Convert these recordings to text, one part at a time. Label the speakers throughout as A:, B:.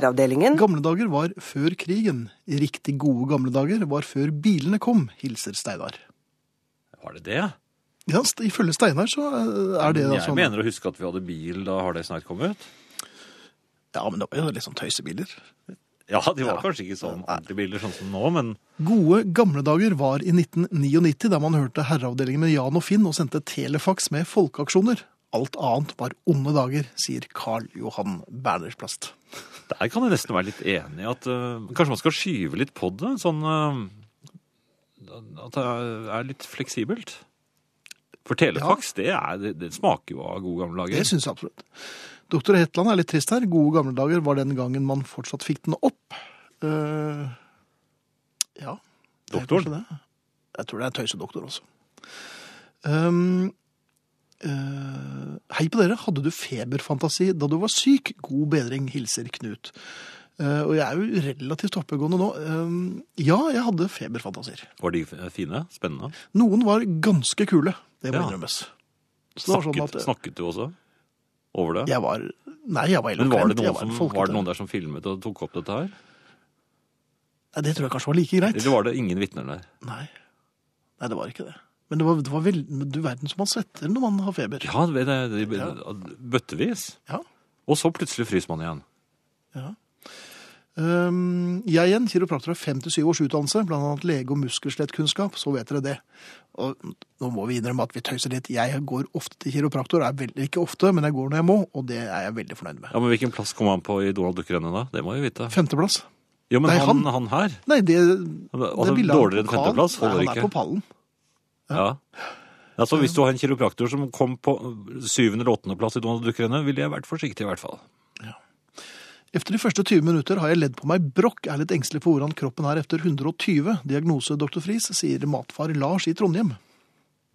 A: herreavdelingen.
B: Gamle dager var før krigen. Riktig gode gamle dager var før bilene kom, hilser Steinar.
C: Var det det?
B: Ja, st- ifølge Steinar så eh, er det da
C: jeg
B: sånn.
C: mener å huske at vi hadde bil da Har det snart kommet ut.
B: Ja, men det var jo liksom tøysebiler.
C: Ja, de var
B: Ja.
C: kanskje ikke sånn ordentlige biler sånn som nå, men
B: Gode gamle dager var i 1999, da man hørte herreavdelingen med Jan og Finn og sendte telefax med folkeaksjoner. Alt annet var onde dager, sier Karl Johan Bernersplast.
C: der kan jeg nesten være litt enig i at eh, kanskje man skal skyve litt på det. Sånn eh, at det er litt fleksibelt. For telefax, det, er, det, det smaker jo av gode gamle
B: Det
C: dager.
B: syns jeg absolutt. Doktor Hetland er litt trist her. Gode gamle dager var den gangen man fortsatt fikk den opp. Eh, ja. det er
C: Doktoren?
B: kanskje det. Jeg tror det er tøysedoktor også. Um, eh, hei på dere. Hadde du feberfantasi da du var syk? God bedring, hilser Knut. Eh, og jeg er jo relativt oppegående nå. Um, ja, jeg hadde feberfantasier.
C: Var de fine? Spennende?
B: Noen var ganske kule. Det må
C: Ja.
B: innrømmes. Så det var
C: Snakket,
B: sånn at-
C: snakket du også over det?
B: Jeg var Nei, jeg var
C: Men var
B: eloquent, jeg
C: det, noen
B: var en
C: som, var det
B: folketøy.
C: noen der som filmet og tok opp dette her?
B: Nei, det tror jeg kanskje var like greit.
C: Eller var det ingen vitner der?
B: Nei. Nei, det var ikke det. Men det var, det var vel, men du verden som man svetter når man har feber.
C: Ja, det, det, det,
B: Ja.
C: bøttevis.
B: Ja.
C: Og så plutselig fryser man igjen.
B: Ja. Ehm, jeg igjen, kiropraktor har fem til syv års utdannelse, blant annet lege- og muskelslettkunnskap, så vet dere det. Og nå må vi innrømme at vi tøyser litt. Jeg går ofte til kiropraktor, er veldig, ikke ofte, men jeg går når jeg må, og det er jeg veldig fornøyd med.
C: Ja, Men hvilken plass kom han på i Donald Duck-rennet, da? Det må vi vite.
B: Femteplass?
C: Jo, men
B: Nei,
C: han,
B: han-
C: han her
B: Nei, det,
C: Altså,
B: det bildet av
C: dårligere enn
B: pokal-
C: femteplass holder
B: Nei, han
C: ikke.
B: er på pallen.
C: Ja. Altså, Hvis du har en kiropraktor som kom på syvende eller åttende plass i Donald Duck-rennet, ville jeg vært forsiktig, i hvert fall.
B: Efter de første 20 minutter har jeg ledd på meg brokk, er litt engstelig for hvordan kroppen er efter 120. Diagnose doktor Friis, sier matfar Lars i Trondheim.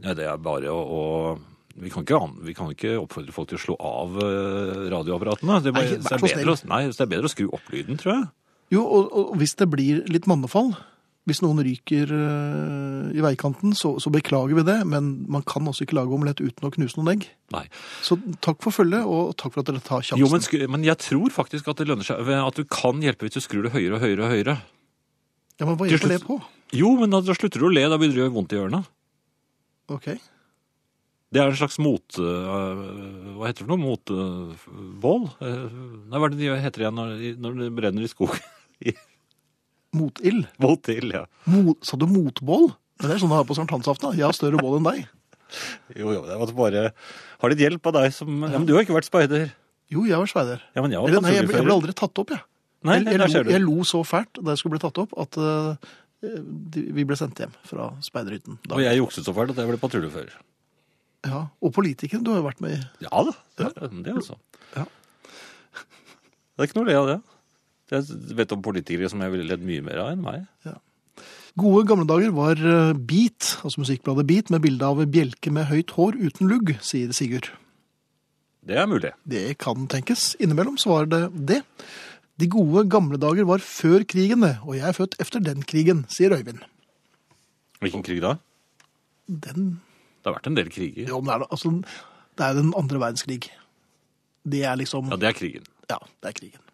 C: Nei, det er bare å, å vi, kan ikke, an- vi kan ikke oppfordre folk til å slå av eh, radioapparatene. Det er, bare,
B: Nei, vær
C: så
B: så
C: det er bedre, å- nei, så det er bedre å skru opp lyden, tror jeg.
B: Jo, og, og hvis det blir litt mannefall, hvis noen ryker øh, i veikanten, så, så beklager vi det, men man kan også ikke lage omelett uten å knuse noen egg.
C: Nei.
B: Så takk for følget, og takk for at dere tar sjansen.
C: Jo, men, skru- men jeg tror faktisk at det lønner seg ved at du kan hjelpe hvis du skrur det høyere og høyere og høyere.
B: ja, men hva
C: til
B: hjelper det
C: slutt-
B: på?
C: Jo, men da, da slutter du å le, da begynner det å gjøre vondt i ørene.
B: Ok.
C: Det er en slags mot... øh, hva heter det for noe? Motvål? Eh, nei, hva er det de heter igjen når, når det brenner i skog?
B: Motild.
C: Vold til, ja.
B: Mot, sa du motbål? Men det er sånn jeg har på sankthansaften. da. Jeg har større bål enn deg.
C: Jo, jo, jeg måtte bare ha litt hjelp av deg som... Ja, men du har ikke vært speider.
B: Jo, jeg var sveider.
C: Ja, men jeg var
B: Eller, nei, jeg ble, jeg ble
C: patruljefører.
B: aldri tatt opp, jeg.
C: Nei,
B: jeg,
C: nei, der
B: jeg,
C: ser
B: lo, jeg
C: du.
B: lo så fælt da jeg skulle bli tatt opp, at eh, de, vi ble sendt hjem fra speiderhytten. da.
C: Og jeg jukset så fælt at jeg ble patruljefører.
B: Ja, og politikeren du har jo vært med i.
C: Ja da, det er det er altså.
B: Ja.
C: Det er ikke noe å le av det. Jeg vet om politikere som jeg ville ledd mye mer av enn meg.
B: Gode gamle dager var eh, Beat, altså musikkbladet Beat, med bilde av bjelke med høyt hår uten lugg, sier Sigurd.
C: Det er mulig.
B: Det kan tenkes. Innimellom så var det det. De gode gamle dager var før krigen, det, og jeg er født efter den krigen, sier Øyvind.
C: Hvilken krig da?
B: Den
C: Det har vært en del kriger.
B: Jo, men det er, da- altså, det er den andre verdenskrig. Det er liksom
C: Ja, det er krigen.
B: Ja, det er krigen.